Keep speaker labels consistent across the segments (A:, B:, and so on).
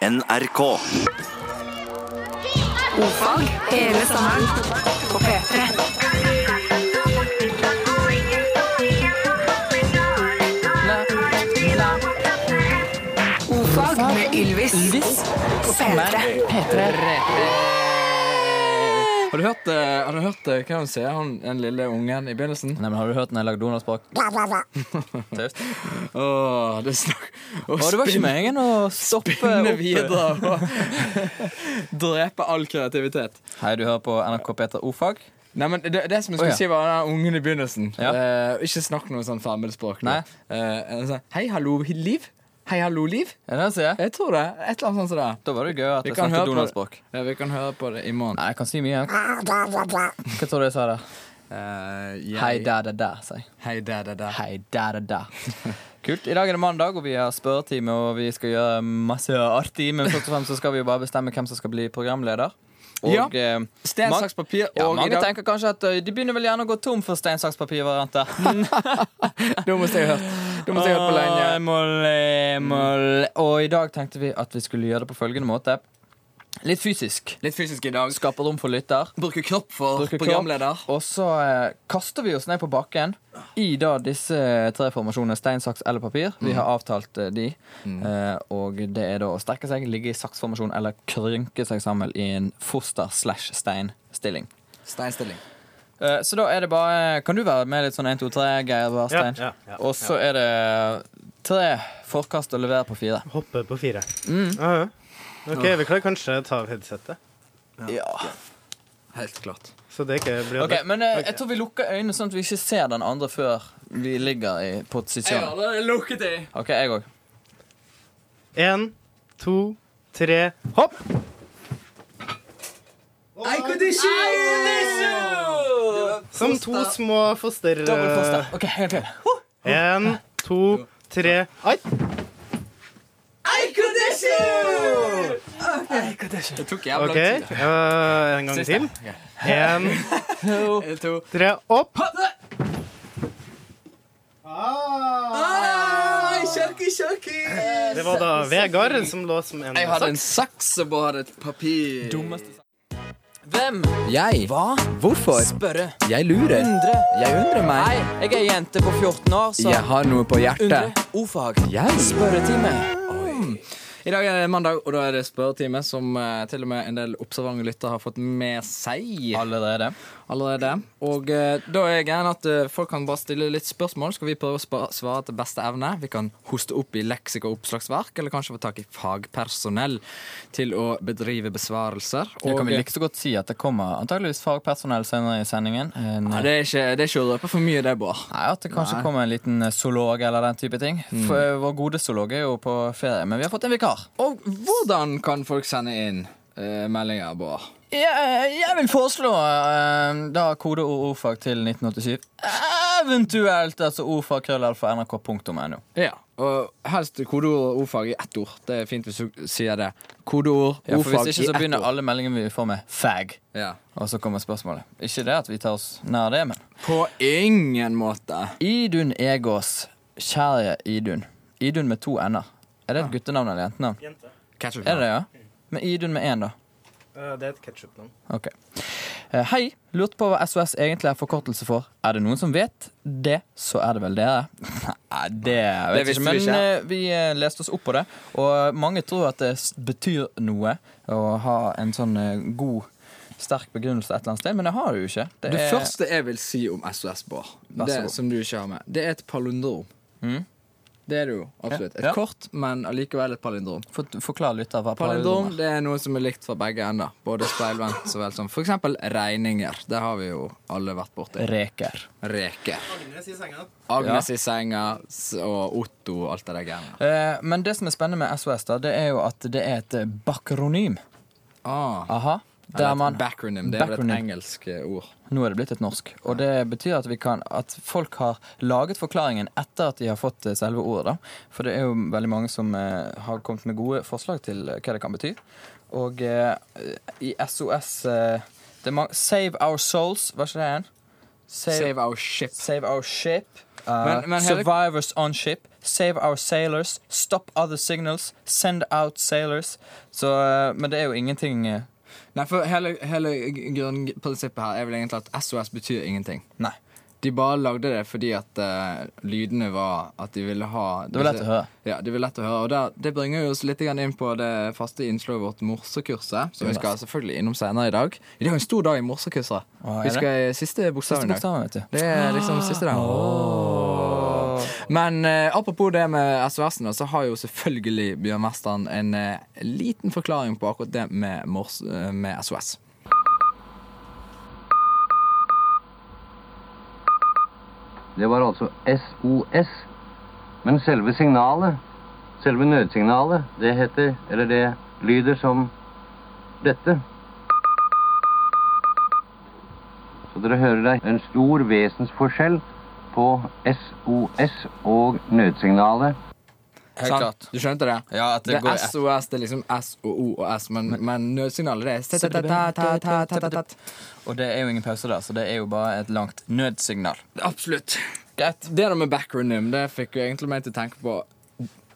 A: NRK.
B: Ofag hele sommeren på P3. Ofag med Ylvis på P3.
C: Har du hørt, eh, har du hørt eh, hva hun sier, han, den lille ungen i begynnelsen?
D: Nei, men Har du hørt når jeg lagde donorspak? Tøft.
C: Åh, det snak...
D: Å, det var ikke meningen å stoppe
C: Spinne
D: opp.
C: videre og drepe all kreativitet.
D: Hei, du hører på NRK Peter Ofag?
C: Nei, men Det, det som jeg skulle
D: Å, ja.
C: si, var den ungen i begynnelsen.
D: Ja.
C: Eh, ikke snakk noe sånn fremmedspråk. nå.
D: Nei.
C: Eh, en sånn, Hei, hallo, Liv. Hei, hallo, Liv.
D: Er det det han sier?
C: Jeg tror det. Et eller annet sånt som det.
D: Da var det gøy at
C: Vi
D: jeg
C: kan høre på-
D: snakket donorspak.
C: Ja, vi kan høre på det i morgen.
D: Nei, jeg kan si mye. jeg. Hva tror du jeg sa der?
C: Eh, jeg-
D: Hei, da, da, da, sier jeg.
C: Hei, da, da, da.
D: Hei, da, da, da. Kult. I dag er det mandag, og vi har spørretime, og vi skal gjøre masse artig. Men først og fremst så skal vi jo bare bestemme hvem som skal bli programleder. Og
C: Ja.
D: eh,
C: Sten,
D: mang-
C: saks, papir.
D: ja,
C: og i
D: mange
C: dag-
D: tenker kanskje at eh, de begynner vel gjerne å gå tom for stein, saks, papir-varianter.
C: Dummeste jeg har hørt. Dummeste jeg har hørt
E: Ah.
C: på lenge.
D: Åh, molle, molle. Og i dag tenkte vi at vi skulle gjøre det på følgende måte. Litt fysisk.
C: Litt fysisk i dag.
D: Skape rom for lytter.
C: Bruke kropp for
D: Bruke kropp.
C: programleder.
D: Og så eh, kaster vi oss ned på bakken i da disse tre formasjonene stein, saks eller papir.
C: Mm.
D: Vi har avtalt eh, de. Eh, og det er da å strekke seg, ligge i saksformasjon eller krynke seg sammen i en foster-slash-stein-stilling.
C: Steinstilling.
D: Eh, Så da er det bare Kan du være med litt sånn 1, 2, 3, Geir Warstein?
F: Ja, ja, ja.
D: og så er det tre forkast å levere på fire.
F: Hoppe på fire. Ja, ja. OK, vi kan kanskje ta av headsetet.
C: Helt klart.
F: Så det ikke blir
D: Ok, Men eh, jeg tror vi lukker øynene, sånn at vi ikke ser den andre før vi ligger i posisjon.
C: det lukket i.
D: Ok, jeg òg.
F: Én, to, tre, hopp! Som to små foster...
D: Ok, helt til.
F: Én, to, tre Ai!
C: Det tok jævla
F: OK,
C: okay. tid.
F: eh, en gang til. Én,
C: Jeg tror-
F: tre, opp! Ah! Det var da Vegard som lå som en
C: Jeg hadde en saks og bare hadde et papir.
D: Hvem?
E: Jeg.
D: Hva?
E: Hvorfor?
D: Spørre.
E: Jeg lurer.
D: Undre.
E: Jeg undrer meg.
D: Hei, jeg er jente på 14 år, så
E: Jeg har noe på
D: Undre.
E: hjertet.
D: Ordfag.
E: Jeg.
D: Spørretime.
C: Mm. I dag er det mandag, og da er det spørretime, som eh, til og med en del observante lyttere har fått med seg
D: Allerede.
C: allerede. Og eh, da er greia at eh, folk kan bare stille litt spørsmål. Skal vi prøve å spa- svare til beste evne? Vi kan hoste opp i leksika og oppslagsverk, eller kanskje få tak i fagpersonell til å bedrive besvarelser.
D: Det kan
C: Og, eh,
D: vi like så godt si at det kommer antageligvis fagpersonell senere i sendingen. En,
C: Nei, det er ikke, det er ikke å røpe for mye, det, Bård.
D: Nei, At det kanskje kommer en liten eh, zoolog eller den type ting. For eh, Vår gode zoolog er jo på ferie, men vi har fått en vikar.
C: Og hvordan kan folk sende inn eh, meldinger, Bård?
D: Jeg, jeg vil foreslå eh, da kodeord ordfag til 1987. Eventuelt altså ordfagkrøllalfa.nrk.no.
C: Ja, og helst kodeord og ordfag i ett ord. Det er fint hvis du sier det. Kodeord,
D: Ja, for
C: ordfag
D: hvis ikke
C: i
D: så
C: ett
D: begynner
C: ord.
D: alle meldingene vi får med fag.
C: Ja.
D: Og så kommer spørsmålet. Ikke det at vi tar oss nær det, men
C: På ingen måte.
D: Idun Egås, kjære Idun. Idun med to n-er. Er det et guttenavn eller jentenavn?
C: Ketchup.
D: Er det det, ja? Men Idun med én, da?
F: Eh, Det er et ketsjupnavn.
D: Ok. Eh, Hei, lurte på hva SOS egentlig er forkortelse for. Er det noen som vet det, så er det vel dere. Nei, det vet
C: Det
D: jeg
C: visste
D: ikke,
C: vi
D: men
C: ikke.
D: eh, vi eh, leste oss opp på det. Og mange tror at det s- betyr noe å ha en sånn eh, god, sterk begrunnelse et eller annet sted, men det har det jo ikke. Det
C: Det
D: er-
C: første jeg vil si om SOS, Bård,
D: Eh, Vær så
C: det
D: god. Mm.
C: som du ikke har med, det er et palundrom. Det er det jo, absolutt. Et
D: Ja.
C: kort, men allikevel et palundrom.
D: For, forklar litt av hva
C: Palindrom
D: palindrom er.
C: det er noe som er likt fra begge ender. Både speilvendt så vel som for eksempel regninger. Det har vi jo alle vært borti.
D: Reker.
C: Reker.
F: Agnes i senga.
C: Agnes i senga s- og Otto og alt det der greiene.
D: Eh, Men det som er spennende med SOS, da, det er jo at det er et eh, bakronym.
C: Ah.
D: Aha.
C: Eller
D: Der
C: et
D: man
C: backronym. Det er vel et
D: Backronym.
C: engelsk eh, ord.
D: Nå er det blitt et norsk. Og det betyr at, vi kan, at folk har laget forklaringen etter at de har fått eh, selve ordet. Da. For det er jo veldig mange som eh, har kommet med gode forslag til eh, hva det kan bety. Og eh, i SOS eh, det er ma- Save Our Souls, var ikke det en?
C: Save our ship.
D: Save Our Ship. Uh,
C: Men- men hele-
D: survivors on ship. Save our sailors. Stop other signals. Send out sailors. Så, eh, men det er jo ingenting eh,
C: Nei, for hele, hele grunnprinsippet her er vel egentlig at SOS betyr ingenting.
D: Nei.
C: De bare lagde det fordi at eh, lydene var at de ville ha
D: Det var lett å høre.
C: Ja, det var lett å høre. Og der, det bringer jo oss litt grann inn på det faste innslaget vårt, morsekurset. Som vi skal selvfølgelig innom senere i dag. I dag er en stor dag i morsekurset.
D: Å, er
C: Vi skal i siste
D: Siste
C: bokstaven i dag.
D: bokstaven, Ah. vet du.
C: Det er liksom siste dagen. Men eh, apropos det med SOS-ene, så har jo selvfølgelig Bjørnmesteren en eh, liten forklaring på akkurat det med, mors, eh, med SOS.
A: Det var altså SOS. Men selve signalet, selve nødsignalet, det heter, eller det lyder som dette. Så dere hører det er en stor vesensforskjell på SOS og nødsignalet.
D: Helt
C: Sant?
D: klart.
C: Du skjønte det?
D: Ja, at
C: Det
D: det, går
C: er SOS, det er liksom S og O og S, men, men nødsignalet det er ta-ta-ta-ta-ta-ta-ta.
D: Og det er jo ingen pause der, så det er jo bare et langt nødsignal.
C: Absolutt. Greit. Det der med backronym det fikk jo egentlig meg til å tenke på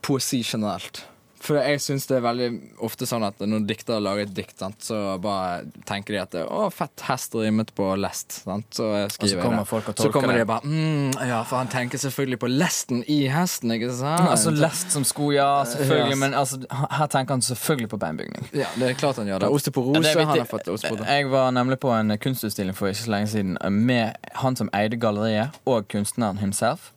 C: poesi generelt. For jeg syns det er veldig ofte sånn at når diktere lager et dikt, sant, så bare tenker de at Å, fett hest rimet på lest. Sant? Så jeg skriver jeg
D: kommer
C: det.
D: folk og
C: så
D: tolker
C: kommer de
D: det.
C: bare mm, Ja, for han tenker selvfølgelig på lesten i hesten, ikke sant?
D: Altså Lest som sko, ja, selvfølgelig,
C: Yes.
D: men altså, her tenker han selvfølgelig på beinbygning.
C: ja, det er klart han gjør det. Eh, Oste på
D: Ja,
C: rose.
D: det er viktig.
C: han har fått ost på rose.
D: Jeg var nemlig på en kunstutstilling for ikke så lenge siden eh, med han som eide galleriet, og kunstneren himself.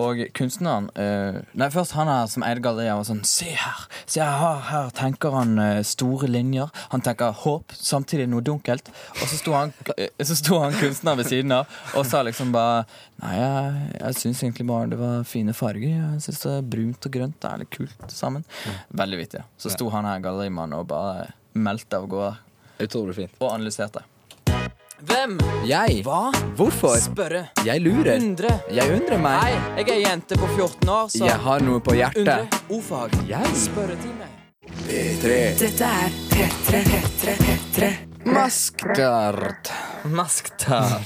D: Og kunstneren eh, Nei, først han her som eide galleriet, var sånn Se her! Se her, her tenker han eh, store linjer. Han tenker håp, samtidig noe dunkelt. Og så sto han, eh, så sto han kunstneren ved siden av og sa liksom bare Nei, jeg, jeg syns egentlig bare det var fine farger. Jeg syns det er brunt og grønt. Det er litt kult sammen. Veldig vittig. Så sto han her gallerimannen og bare meldte av gårde
C: eh, Utrolig fint.
D: og analyserte. Hvem?
C: Jeg?
D: Hva?
C: Hvorfor?
D: Spørre.
C: Jeg lurer.
D: Undre.
C: Jeg undrer
D: Nei,
C: meg.
D: jeg er jente på 14 år, så
C: Jeg har noe på
D: Undre.
C: hjertet.
D: Ordfag.
C: Jeg?
D: Spørretime.
B: Dette er P3, P3, P3.
C: Maskert. Masktart.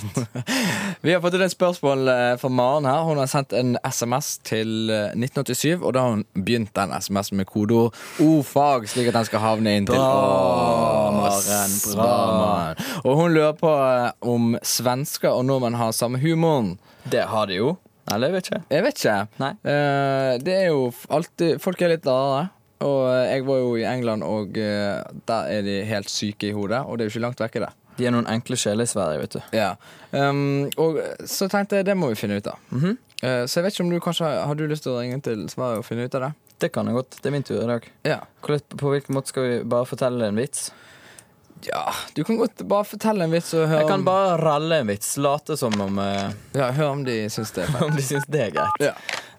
C: Vi har fått inn et spørsmål eh, fra Maren her. Hun har sendt en SMS til eh, 1987, og da har hun begynt den SMS-en med kodeord ordfag, slik at den skal havne inn til oss. Bra, Maren. Og hun lurer på eh, om svensker og nordmenn har samme humoren.
D: Det har de jo. Eller jeg vet ikke.
C: Jeg vet ikke.
D: Nei.
C: Eh, det er jo f- alltid Folk er litt rare. Og eh, jeg var jo i England, og eh, der er de helt syke i hodet. Og det er jo ikke langt vekke, det.
D: De er noen enkle sjeler i Sverige, vet du.
C: Ja. Um, og så tenkte jeg det må vi finne ut av.
D: Mhm.
C: Eh, så jeg vet ikke om du kanskje har, har du lyst til å ringe til Sverige og finne ut av det?
D: Det kan jeg godt. Det er min tur i dag.
C: Ja.
D: Hvordan- På hvilken måte skal vi bare fortelle en vits?
C: ja. Du kan godt bare fortelle en vits og høre,
D: Jeg kan
C: om,
D: bare ralle en vits. Late som om, eh,
C: ja, høre om de syns det er fett.
D: om de syns det er greit.
C: Ja.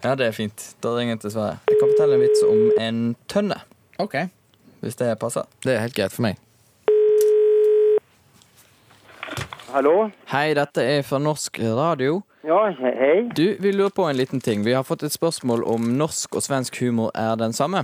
D: Ja, det er fint. Da ringer jeg til Sverige. Jeg kan fortelle en vits om en tønne,
C: OK.
D: hvis det passer.
C: Det er helt greit for meg.
E: Hallo?
D: Hei, dette er fra Norsk Radio.
E: Ja, he- hej.
D: Du, vi lurer på en liten ting. Vi har fått et spørsmål om norsk og svensk humor er den samme.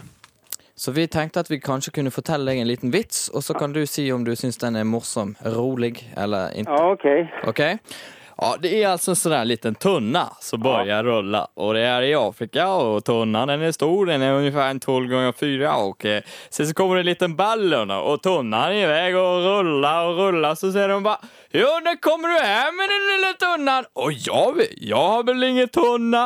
D: Så vi tenkte at vi kanskje kunne fortelle deg en liten vits, og så kan du si om du syns den er morsom, rolig eller ikke.
E: Ja, okej.
D: OK? Ja, det er altså en sånn der liten tunna som begynner å rulle, og det er i Afrika, og tunna den er stor, den er omtrent tolv ganger fire, og eh, sen så kommer det en liten ballong, og tunna er i vei og ruller og ruller, så sier de bare Jo, når kommer du hjem med den lille tunnan? Og jeg vet, jeg har vel ingen tunna?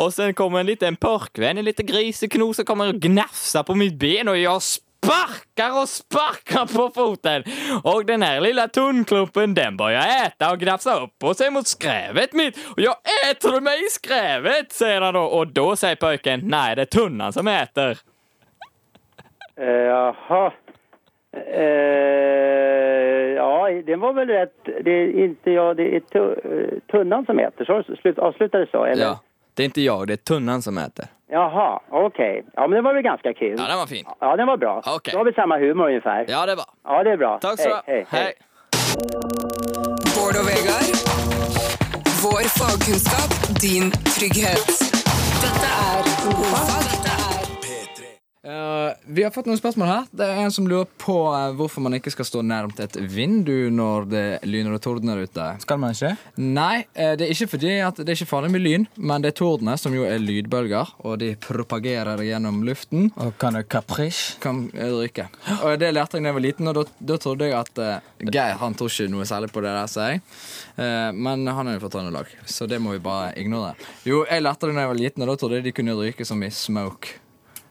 D: Og sen kommer en liten purkvenn, en liten grisekno, som kommer og gnafser på mitt ben, og jeg sparker og sparker på foten. Og den her lille tunnklumpen, den bør jeg ete og grafse opp på seg mot skrevet mitt. Og jeg eter meg i skrevet, sier han da. Og da sier pøken, nei, det er tunnan som eter.
E: Eh, jaha. Eh, ja, den var väl rätt. Det är inte jag, det är tu eh, tunnan som äter. Så slut, avslutade så, eller?
D: det er ikke jeg, det er tunnan som eter.
E: Jaha, okej. Ja, men det var väl ganska kul.
D: Ja, den var fin.
E: Ja, den var bra.
D: Okej.
E: Då har vi samma humor ungefär.
D: Ja, det var.
E: Ja, det är bra.
D: Takk skal du ha.
E: Hej, hej, hej.
B: Bård og Vegard. Vår fagkunnskap, din trygghet. Dette er Ofag.
C: Eh, vi har fått noen spørsmål her. Det er En som lurer på eh, hvorfor man ikke skal stå nærmt et vindu når det lyner og tordner ute.
D: Skal man ikke?
C: Nei, eh, det er ikke fordi at det er ikke farlig med lyn, men det er tordene, som jo er lydbølger, og de propagerer gjennom luften.
D: Og kan du capriche?
C: Kan eh, ryke. Og det lærte jeg da jeg var liten, og da- da trodde jeg at eh, Geir han tror ikke noe særlig på det der, sier jeg. Eh, men han er jo fra Trøndelag, så det må vi bare ignorere. Jo, jeg lærte det da jeg var liten, og da trodde jeg de kunne ryke som i smoke. Så jeg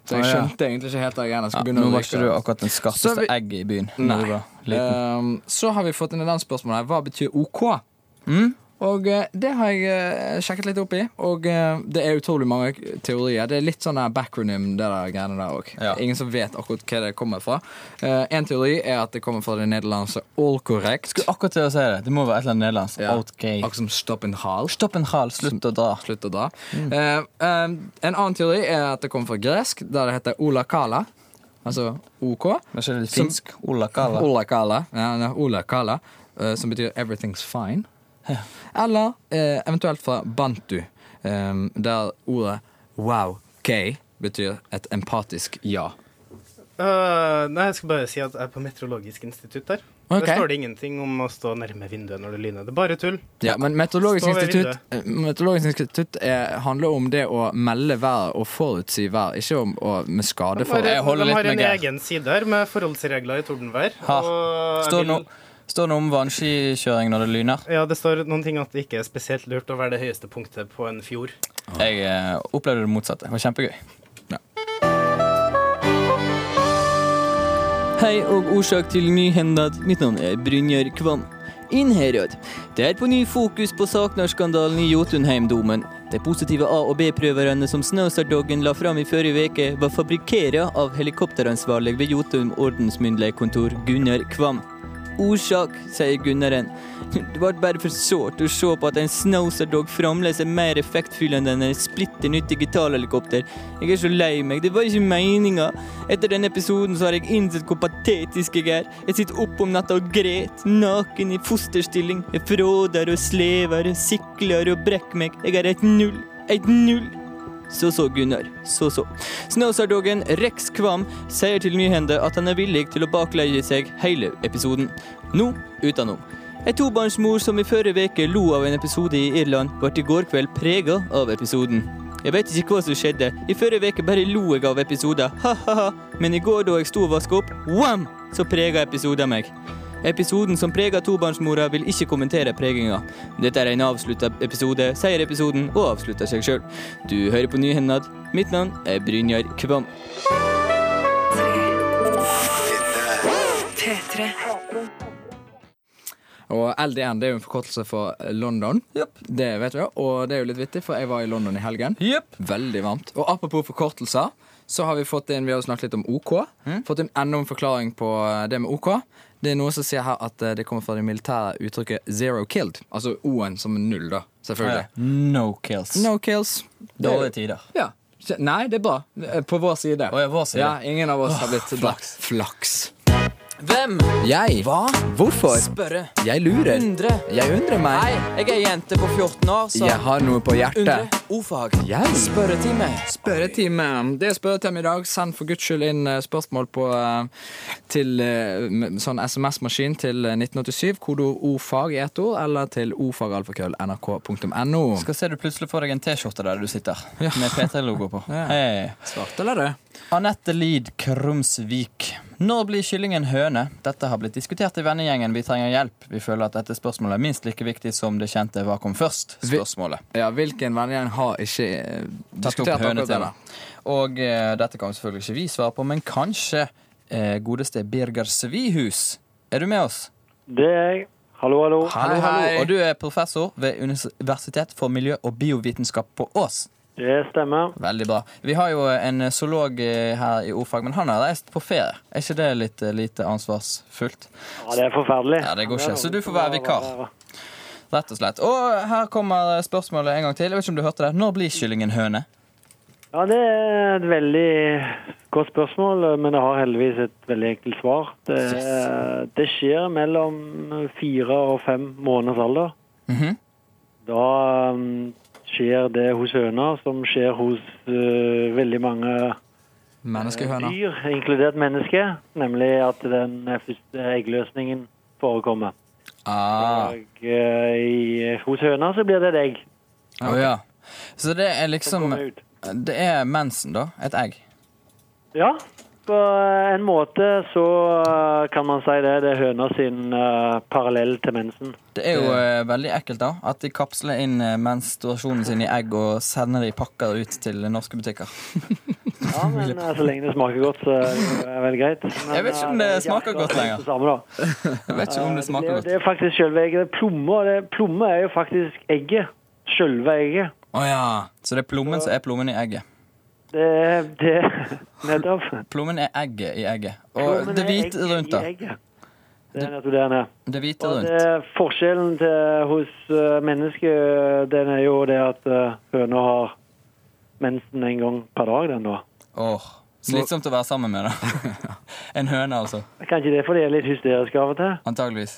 D: Å, Ah, ja.
C: skjønte egentlig ikke helt at jeg
D: Ja,
C: skulle begynne
D: nå
C: å
D: var
C: ryke.
D: ikke du akkurat den
C: Så
D: skarpeste
C: vi-
D: egget i byen. når du
C: Nei.
D: var liten.
C: Ehm, så har vi fått inn et spørsmål her. Hva betyr OK?
D: Mm?
C: Og eh, det har jeg eh, sjekket litt opp i, og eh, det er utrolig mange teorier. Det er litt sånn der backronym, det der greiene der òg.
D: Ja.
C: Ingen som vet akkurat hva det kommer fra. Eh, en teori er at det kommer fra det nederlandske all correct.
D: Skulle akkurat til å si det. Det må være et eller annet nederlandsk.
C: Ja.
D: Okay.
C: Akkurat som stopp and hal.
D: Stopp en hal, slutt å dra. Mm.
C: Slutt å dra. Eh, eh, en annen teori er at det kommer fra gresk, der det heter ola kala. Altså OK.
D: Men ikke det
C: Som-
D: finsk? Ola Kala.
C: Ola Kala, ja, nei, Ola Kala eh, som betyr 'everything's fine'. Eller eh, eventuelt fra bantu, eh, der ordet 'wow gay' betyr et empatisk ja.
F: Eh, nei, jeg skal bare si at jeg er på Meteorologisk institutt der.
C: Ok.
F: Der står det ingenting om å stå nærme vinduet når det lyner. Det er bare tull.
C: Ja, men Meteorologisk
F: Stå ved
C: institutt, eh, meteorologisk institutt er, handler om det å melde vær og forutsi vær, ikke om å, med skade for
F: de
D: Jeg
F: har,
D: holder
F: de
D: litt
F: har en
D: med Geir.
F: egen side her med forholdsregler i tordenvær.
D: Ha.
F: og jeg
D: Står
F: vil-
D: no- Står det noe om vannskikjøring når det lyner?
F: Ja, det står noen ting at det ikke er spesielt lurt å være det høyeste punktet på en fjord.
D: Jeg eh, opplevde det motsatte. Det var kjempegøy.
G: Hei og årsak til nyhendet. Mitt navn er Brynjar Kvam. Inn herad. Det er på ny fokus på Saknar-skandalen i Jotunheimdomen. De positive A- og B-prøverne som Snøsardoggen la fram i forrige uke, var fabrikkert av helikopteransvarlig ved Jotun ordensmyndighetskontor, Gunnar Kvam. Årsak, sier Gunnaren. Det ble bare for sårt å se på at en Snowsardog fremdeles er mer effektfyllende enn en splitter nytt digitalhelikopter. Jeg er så lei meg. Det var ikke meninga. Etter denne episoden så har jeg innsett hvor patetisk jeg er. Jeg sitter opp om natta og gret, naken i fosterstilling. Jeg fråder og slever, sikler og brekker meg. Jeg er et null. Et null. Så så, Gunnar. Så så. Snåsardogen Rex Kvam sier til Nyhende at han er villig til å bakleie seg hele episoden. Nå utenom. Ei tobarnsmor som i forrige uke lo av en episode i Irland, ble i går kveld prega av episoden. Jeg vet ikke hva som skjedde. I forrige uke bare lo jeg av episoder, ha-ha-ha. Men i går da jeg sto og vaska opp, wham, så prega episoden meg. Episoden som preger tobarnsmora, vil ikke kommentere preginga. Dette er en avslutta episode, sier episoden og avslutter seg sjøl. Du hører på Nyhendad. Mitt navn er Brynjar Kvam.
B: P3.
C: Og LDN det er jo en forkortelse for London. Det vet vi jo, og det er jo litt vittig, for jeg var i London i helgen. Veldig varmt. Og apropos forkortelser, så har vi fått inn, vi har jo snakket litt om OK. Fått inn enda en forklaring på eh, det med OK. Det er noen som sier her at eh, det kommer fra det militære uttrykket 'zero killed'. Altså O-en som er null, da. Selvfølgelig.
D: No kills.
C: No kills.
D: Dårlige tider.
C: Ja. Så- Nei, det er bra. Eh, På vår side.
D: Å, ja, vår side.
C: Ja, ingen av oss har blitt drept. Flaks.
G: Hvem?
C: Jeg.
G: Hva?
C: Hvorfor?
G: Spørre.
C: Jeg lurer.
G: Undre.
C: Jeg undrer meg.
G: Hei, jeg er jente på 14 år, så
C: Jeg har noe på hjertet.
G: Undre. O-fag.
C: Jeg?
G: Spørretime.
C: Spørretime. Det er spørretime i dag. Send for guds skyld inn eh, spørsmål på, eh, til eh, m- sånn SMS-maskin til eh, 1987, kodeord ofag i ett ord, eller til ofagalfakrøll.nrk.no.
D: Skal se du plutselig får deg en T-skjorte der du sitter, med P3-logo på.
C: Ja.
D: Hei.
C: Svart eller rød?
D: Anette Lid Krumsvik. Når blir kyllingen høne? Dette har blitt diskutert i vennegjengen. Vi trenger hjelp. Vi føler at dette spørsmålet er minst like viktig som det kjente Hva kom
C: Vi-
D: først?-spørsmålet.
C: Ja, hvilken vennegjeng har ikke eh,
D: Tatt opp
C: diskutert akkurat det?
D: hønetema. Og eh, dette kan selvfølgelig ikke vi svare på, men kanskje eh, godeste Birger Svihus. Er du med oss?
E: Det er jeg. Hallo, hallo.
D: Hallo,
C: hei.
D: hallo. Og du er professor ved Universitet for miljø- og biovitenskap på Ås.
E: Det stemmer.
D: Veldig bra. Vi har jo en zoolog eh, her i ordfag, men han har reist på ferie. Er ikke det litt eh, lite ansvarsfullt?
E: Ja, det er forferdelig.
D: Ja, det går ikke. Så du får være vikar. Rett og slett. Og her kommer spørsmålet en gang til. Jeg vet ikke om du hørte det. Når blir kyllingen høne?
E: Ja, det er et veldig godt spørsmål, men det har heldigvis et veldig enkelt svar. Det, det skjer mellom fire og fem måneders alder.
D: Mhm.
E: Da um, skjer det hos høna som skjer hos eh, veldig uh, mange
C: Menneskehøna.
E: dyr, inkludert menneske, nemlig at den eh, første eggløsningen forekommer.
D: Ah.
E: Og eh, i, hos høna så blir det et egg
D: Å ja. Så det er
E: som
D: liksom
E: kommer ut.
D: Det er mensen, da. Et egg.
E: Ja, på en måte så eh, kan man si det. Det er høna sin eh, parallell til mensen.
D: Det er jo eh, veldig ekkelt, da. At de kapsler inn eh, menstruasjonen sin i egg og sender det i pakker ut til norske butikker.
E: Ja, men eh, så lenge det smaker godt, så er det vel greit. Men,
D: Jeg vet ikke om
E: eh,
D: det
E: er ikke
D: smaker
E: akkurat
D: godt lenger.
E: det Samme, da.
D: Jeg vet ikke om det
E: Det, er-
D: smaker godt.
E: det er faktisk selve egget. Plomme, og det, plomme er jo faktisk egget. Selve egget.
D: Å ja. Så det er plommen som er plommen i egget.
E: Det er det nettopp.
D: Plommen er egget i egget. Og
E: Plommen
D: det
E: er egget
D: hvite rundt,
E: i
D: da.
E: egget. Det er nettopp det den er.
D: Det hvite
E: Og
D: rundt.
E: det er forskjellen til, hos eh, mennesket den er jo det at eh, høna har mensen en gang per dag. den da.
D: Åh, Slitsomt å være sammen med, da. en høne, altså.
E: Kan ikke det fordi jeg er litt hysterisk av og til?
D: Antageligvis.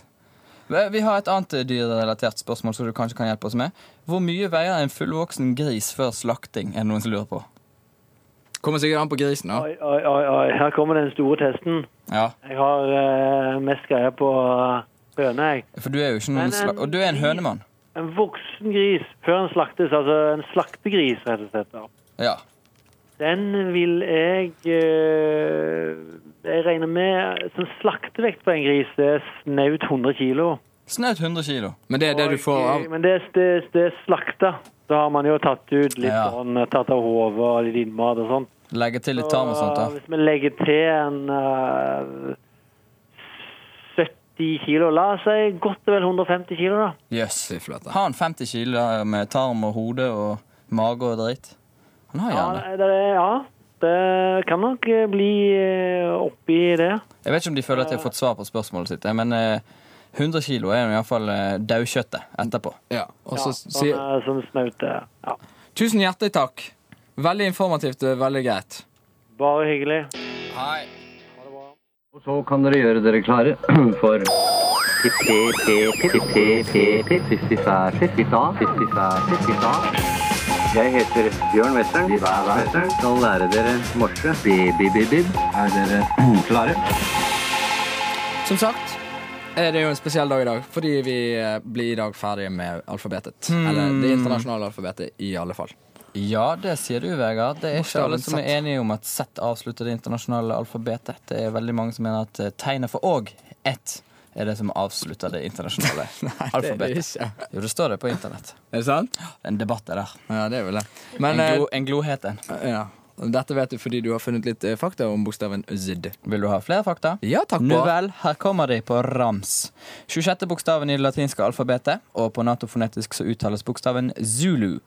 D: Ve- Vi har et annet eh, dyrrelatert spørsmål som du kanskje kan hjelpe oss med. Hvor mye veier en fullvoksen gris før slakting, er det noen som lurer på?
C: Kommer sikkert an på grisen, da.
E: Oi, oi, oi, oi. Her kommer den store testen.
D: Ja,
E: Jeg har eh, mest greie på uh, høne, jeg.
D: for du er jo ikke
E: Men eh,
D: noen
E: en
D: slak... Og du er en
E: gris-
D: hønemann.
E: En voksen gris før den slaktes, altså en slaktegris, rett og slett. da.
D: Ja.
E: Den vil jeg eh, Jeg regner med som slaktevekt på en gris det er snaut 100 kilo.
D: Snaut 100 kilo.
C: Men det er det du får
E: Og,
C: av
E: eh, Men det, det, det er slakta. Da har man jo tatt ut litt
D: Ja.
E: sånn, tatt av hodet og litt innmat og sånn.
D: Legge til litt
E: Så,
D: tarm og sånt, da.
E: Hvis vi legger til en eh, 70 kilo, la oss si godt og vel 150 kilo, da.
D: Jøss.
C: Fy flate.
D: Har han 50 kilo der med tarm og hode og mage og dritt? Han har
E: Ja,
D: gjerne det.
E: Eh, det, er- ja, det kan nok eh, bli eh, oppi det.
D: Jeg vet ikke om de føler at de har fått svar på spørsmålet sitt, eh, men eh, 100 kilo er iallfall eh, daukjøttet etterpå.
C: Ja, og
E: Ja,
C: så
E: sånn,
C: sier
E: eh, sånn snaute. Ja.
C: Tusen hjertelig takk. Veldig informativt og veldig greit.
E: Bare hyggelig.
D: Hei.
A: Og så kan dere gjøre dere klare for jeg heter Bjørn Western. Western. Skal lære dere morse. Bi-bi-bi-bib. Er dere klare?
C: Som sagt er det jo en spesiell dag i dag, fordi vi eh, blir i dag ferdig med alfabetet.
D: Hmm.
C: Eller det internasjonale alfabetet, i alle fall.
D: Ja, det sier du, Vegard. Det er ikke alle som er
C: Z.
D: enige om at Z avslutter det internasjonale alfabetet. Det er veldig mange som mener at eh, tegnet for og, ett, er det som avslutter det internasjonale alfabetet.
C: ikke.
D: Jo, det står det på internett.
C: Er det sant?
D: Det er En debatt er der.
C: Ja, det er vel det.
D: En,
C: Men eh,
D: glo, en glohet en.
C: ja. Dette vet du fordi du har funnet litt eh, fakta om bokstaven Z.
D: Vil du ha flere fakta?
C: Ja, takk,
D: Nå
C: bra.
D: vel, her kommer de på rams. 26. bokstaven i det latinske alfabetet, og på natofonetisk så uttales bokstaven zulu.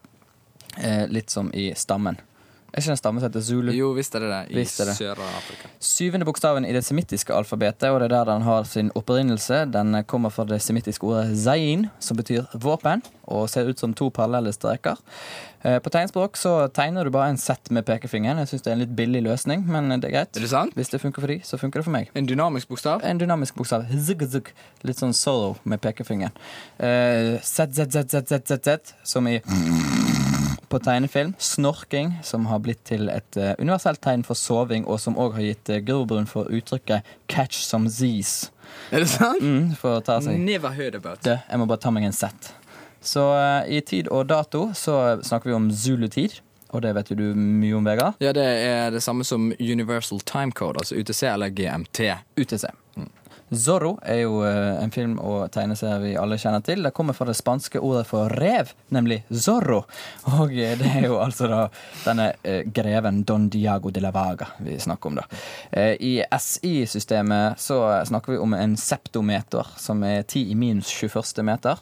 D: Eh, litt som i stammen. Er ikke det en stamme som heter zulu?
C: Jo, visst er det det. I
D: Visst er det.
C: Sør-Afrika.
D: Syvende bokstaven i det semittiske alfabetet, og det er der den har sin opprinnelse. Den kommer fra det semittiske ordet zain, som betyr våpen, og ser ut som to parallelle streker. Eh, På tegnspråk så tegner du bare en Z med pekefingeren. Jeg syns det er en litt billig løsning, men det er greit.
C: Er det sant?
D: Hvis det funker for de, så funker det for meg.
C: En dynamisk bokstav.
D: En dynamisk bokstav. Zug, zug. Litt sånn sorrow med pekefingeren. Eh, Z, Z, Z, Z, Z, Z, Z, som i på tegnefilm. Snorking, som har blitt til et eh, universelt tegn for soving, og som òg har gitt uh, grobunn for uttrykket 'catch some Z's'.
C: Er det sant?
D: Mm, for å ta seg
C: Never heard about.
D: du, jeg må bare ta meg en sett. Så eh, i tid og dato så snakker vi om zulutid, og det vet jo du mye om, Vegard.
C: Ja, det er det samme som Universal Time Code, altså UTC eller GMT.
D: UTC.
C: Mm.
D: Zorro er jo eh, en film og tegneserie vi alle kjenner til. Det kommer fra det spanske ordet for rev, nemlig Zorro. Og eh, det er jo altså da denne eh, greven Don Diago de la Vaga vi snakker om, da. Eh, I SI-systemet så snakker vi om en septometer, som er 10 i minus 21. meter.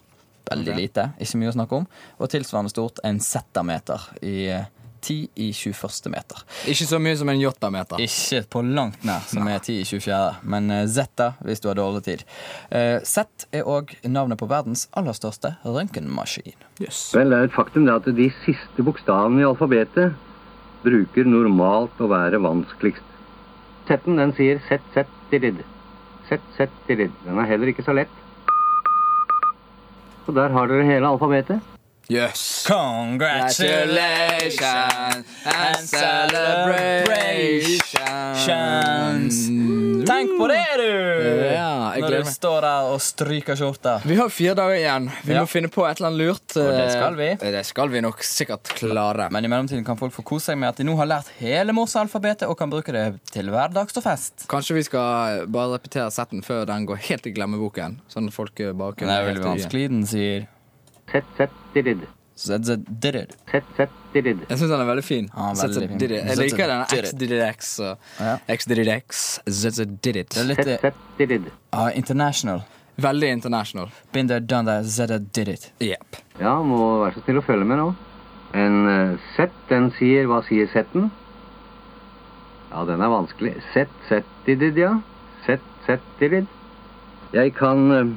D: Veldig lite, ikke mye å snakke om. Og tilsvarende stort en zetameter i eh, 10 i 21. meter.
C: Ikke så mye som en jottameter.
D: Ikke på langt nær, som er 10 i 24. Men eh, Zeta hvis du har dårlig tid. Eh, Z er òg navnet på verdens aller største røntgenmaskin.
A: Vel, det er et faktum det at de siste bokstavene i alfabetet bruker normalt å være vanskeligst. Setten, den sier sett, sett, dirid. Sett, sett, dirid. Den er heller ikke så lett. Så der har dere hele alfabetet.
C: Yes.
D: Congratulations and celebrations. Tenk på det, du!
C: Ja, jeg
D: Når
C: gleder
D: du
C: meg.
D: står der og stryker skjorta.
C: Vi har fire dager igjen. Vi
D: Ja.
C: må finne på et eller annet lurt. eh,
D: Og det skal vi.
C: Det skal vi nok sikkert klare.
D: Men i mellomtiden kan folk få kose seg med at de nå har lært hele morsealfabetet og kan bruke det til hverdags og fest.
C: Kanskje vi skal bare repetere setten før den går helt i glemmeboken. Sånn at folk eh, bare
D: Det
C: kan
D: er veldig vanskelig. Den sier
A: Sett, sett, didid.
D: ZZDDD.
A: Sett, sett, didid.
C: Jeg syns den er veldig fin.
D: Ja,
C: Zet
D: veldig
C: zet
D: fin.
C: did it. Jeg
D: Zet
C: liker den
D: zet did it.
C: XDDX og
D: Ja.
C: XDDX. Zet zet did it.
D: Det er litt
A: Sett,
D: eh,
A: sett, didid.
D: ah, international.
C: Veldig international.
D: Been there, done that, ZZDDD.
C: Jepp.
A: Ja, må være så snill å følge med nå. En eh, sett, den sier Hva sier setten? Ja, den er vanskelig. Sett, sett, didid, ja. Sett, sett, didid. Jeg kan eh,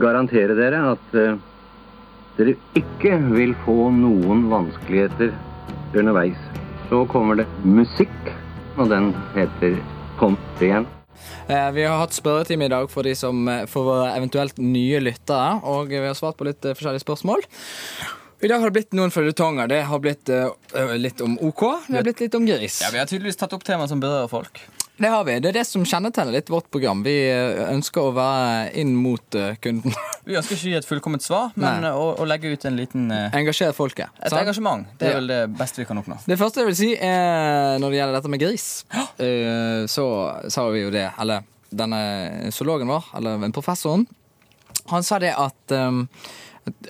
A: garantere dere at eh, dere ikke vil få noen vanskeligheter underveis. Så kommer det musikk, og den heter Pont igjen.
C: Eh, vi har hatt spørretime i dag for, de som, eh, for våre eventuelt nye lyttere, og vi har svart på litt eh, forskjellige spørsmål. I dag har det blitt noen føljetonger. Det har blitt eh, eh, litt om OK, det har blitt litt om gris.
D: Ja, Vi har tydeligvis tatt opp temaer som berører folk.
C: Det har vi. Det er det som kjennetegner litt vårt program. Vi eh, ønsker å være inn mot eh, kunden.
D: Vi ønsker ikke å gi et fullkomment svar, men
C: Nei.
D: eh, å, å legge ut en liten eh,
C: Engasjere folket.
D: et
C: sant?
D: engasjement. Det
C: Ja.
D: er vel det beste vi kan oppnå.
C: Det første jeg vil si er når det gjelder dette med gris, eh, så sa vi jo det Eller denne zoologen vår, eller professoren, han sa det at um,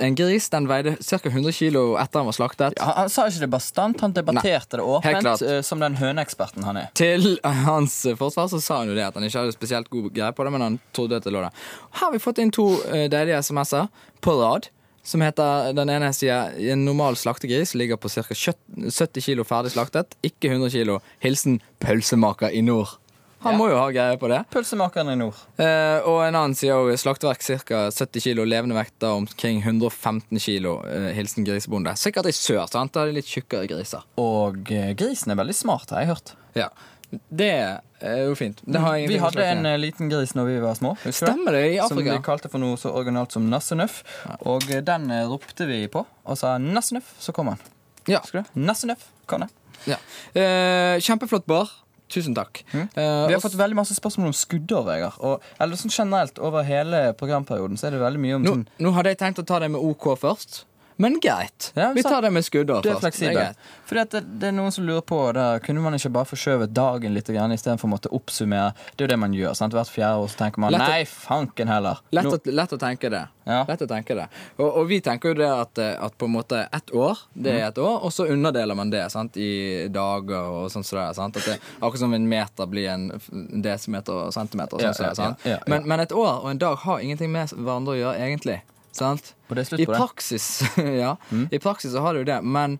C: en gris den veide ca. 100 kilo etter han var slaktet.
D: Han, han sa ikke det bastant, han debatterte det
C: Helt klart.
D: åpent, eh, som den høneeksperten han er.
C: Til hans forsvar så sa han jo det at han ikke hadde spesielt god greie på det, men han trodde at det lå der. Her har vi fått inn to eh, deilige SMS-er på rad. Som heter, Den ene sier en normal slaktegris ligger på ca. 70 kilo ferdig slaktet, ikke 100 kilo. Hilsen pølsemaker i nord. Han
D: Ja.
C: må jo ha greie på det.
D: Pølsemakeren i nord.
C: Eh, og en annen sier også slakteverk ca. 70 kilo, levende vekter omkring 115 kilo. eh, hilsen grisebonde. Sikkert i sør, sant? Da er det litt tjukkere griser.
D: Og eh, grisen er veldig smart, har jeg hørt.
C: Ja. Det er jo fint. Det har
D: Vi
C: ingenting med
D: hadde
C: slakting å
D: en
C: gjøre.
D: eh, liten gris når vi var små. husker du
C: Stemmer det, i
D: Som vi
C: Afrika.
D: kalte for noe så originalt som Nassenøff. Og eh, den eh, ropte vi på og sa 'Nassenøff', så kom han.
C: Ja.
D: Husker du? Nassenøff kom han.
C: ja. Eh, kjempeflott bar. Tusen takk. Eh,
D: Mm. Vi har
C: og-
D: fått veldig masse spørsmål om skuddår, Vegard. Og, eller sånn generelt over hele programperioden så er det veldig mye om
C: nå,
D: sånn
C: nå hadde jeg tenkt å ta det med OK først, men greit.
D: Ja,
C: vi
D: sant.
C: tar det med skuddår først.
D: Du er
C: Det
D: fleksibel.
C: greit.
D: Fordi at det, det er noen som lurer på da, Kunne man ikke bare forskjøvet dagen litt istedenfor å måtte oppsummere? Det er jo det man gjør. sant? Hvert fjerde år så tenker man
C: Lett å-
D: Nei, fanken heller.
C: Lett,
D: Nå-
C: å, lett å tenke det.
D: Ja.
C: Lett å tenke det. Og, og vi tenker jo det at, eh, at på en måte ett år, det
D: Mm.
C: er ett år, og så underdeler man det sant? i dager og sånn. som det er, sant? At det, akkurat som en meter blir en f- en desimeter og centimeter. og
D: Ja,
C: sånn som det er,
D: ja,
C: sant?
D: ja, ja, ja.
C: Men, men et år og en dag har ingenting med hverandre å gjøre, egentlig. Sant?
D: Og det er slutt
C: I
D: på det. Mm.
C: praksis, ja. I praksis så har det jo det, men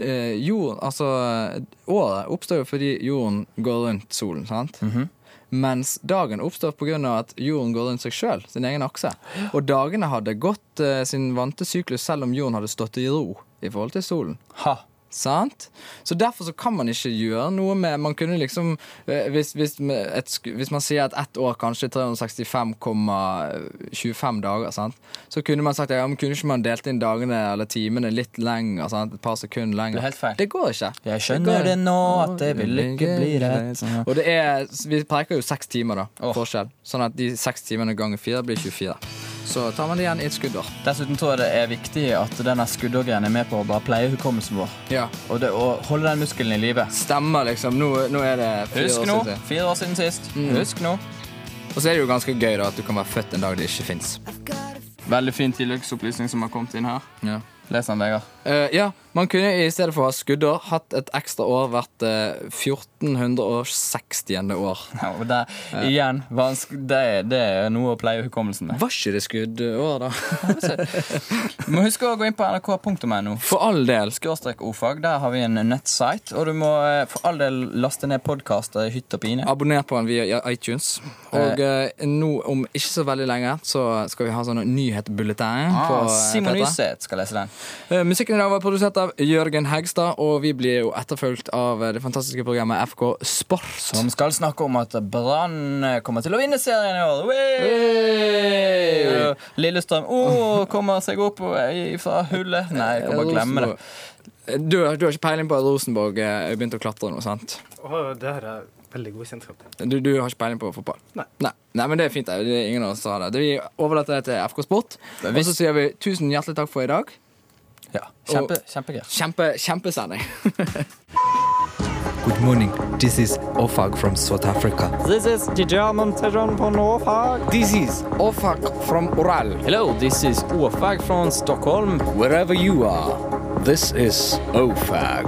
C: eh, jord, altså Året oppstår jo fordi jorden går rundt solen, sant?
D: Mhm.
C: Mens dagen oppstår pga. at jorden går rundt seg sjøl, sin egen akse. Og dagene hadde gått eh, sin vante syklus selv om jorden hadde stått i ro i forhold til solen.
D: Ha.
C: Sant? Så derfor så kan man ikke gjøre noe med Man kunne liksom eh, Hvis, hvis, med et, sk- hvis man sier at ett år kanskje er 365,25 dager, sant? så kunne man sagt ja, men kunne ikke man delt inn dagene eller timene litt lenger? Sant? Et par sekunder lenger.
D: Det er helt feil.
C: Det går ikke.
D: Jeg skjønner det nå, at det vil ikke bli rett.
C: sånn. Og det er Vi peker jo seks timer, da.
D: Åh.
C: Forskjell. Sånn at de seks timene ganger fire blir 24. Så tar man det igjen i et skuddår.
D: Dessuten tror jeg det er viktig at denne skuddorgreien er med på å bare pleie hukommelsen vår.
C: Ja.
D: Og det, å holde den muskelen i live.
C: Stemmer, liksom. Nå, nå er det fire
D: Husk
C: år
D: nå.
C: siden.
D: Fire år siden sist. Husk nå.
C: Og så er det jo ganske gøy da at du kan være født en dag det ikke fins.
D: Veldig fin tilleggsopplysning som har kommet inn her.
C: Ja.
D: Les den, Vegard.
C: Eh, ja, man kunne i stedet for å ha skuddår hatt et ekstra år hvert eh, 1460. år.
D: Ja, og det, igjen, vansk, det, er- det er noe å pleie hukommelsen med.
C: Var ikke det skuddår, da?
D: Du må huske å gå inn på nrk.no.
C: For all del.
D: Skråstrek ordfag. Der har vi en nettsite. Og du må eh, for all del laste ned podkaster i hytt og pine.
C: Abonner på den via iTunes. Og eh, nå om ikke så veldig lenge så skal vi ha sånn nyhetsbulletin. på,
D: Ah,
C: eh,
D: Simon
C: Petra.
D: Nyseth skal lese den.
C: Eh, musikken i dag var produsert av Jørgen Hegstad, og vi blir jo etterfulgt av eh, det fantastiske programmet FK Sport.
D: Som skal snakke om at Brann eh, kommer til å vinne serien i år. Wey!
C: Wey!
D: Og Lillestrøm oh, kommer seg opp og- fra hullet. Nei, jeg kommer til å glemme det.
C: Du, du har ikke peiling på at Rosenborg eh, begynte å klatre nå, sant?
F: Å, det her er veldig god kjennskap til.
C: Du, du har ikke peiling på fotball?
F: Nei.
C: Nei, Nei, men det er fint. Det. Det er ingen av oss som har det. det. Vi overlater det til FK Sport. Og så sier vi tusen hjertelig takk for i dag.
D: Ja, kjempe, Kjempegøy.
C: Kjempe, kjempesending.
H: Good morning. This is Ofag from South Africa.
G: This is the German Tejan von Ofag.
H: This is
C: Ofak from Oral.
G: Hello, this is Ofag from Stockholm.
H: wherever you are. This is Ofag.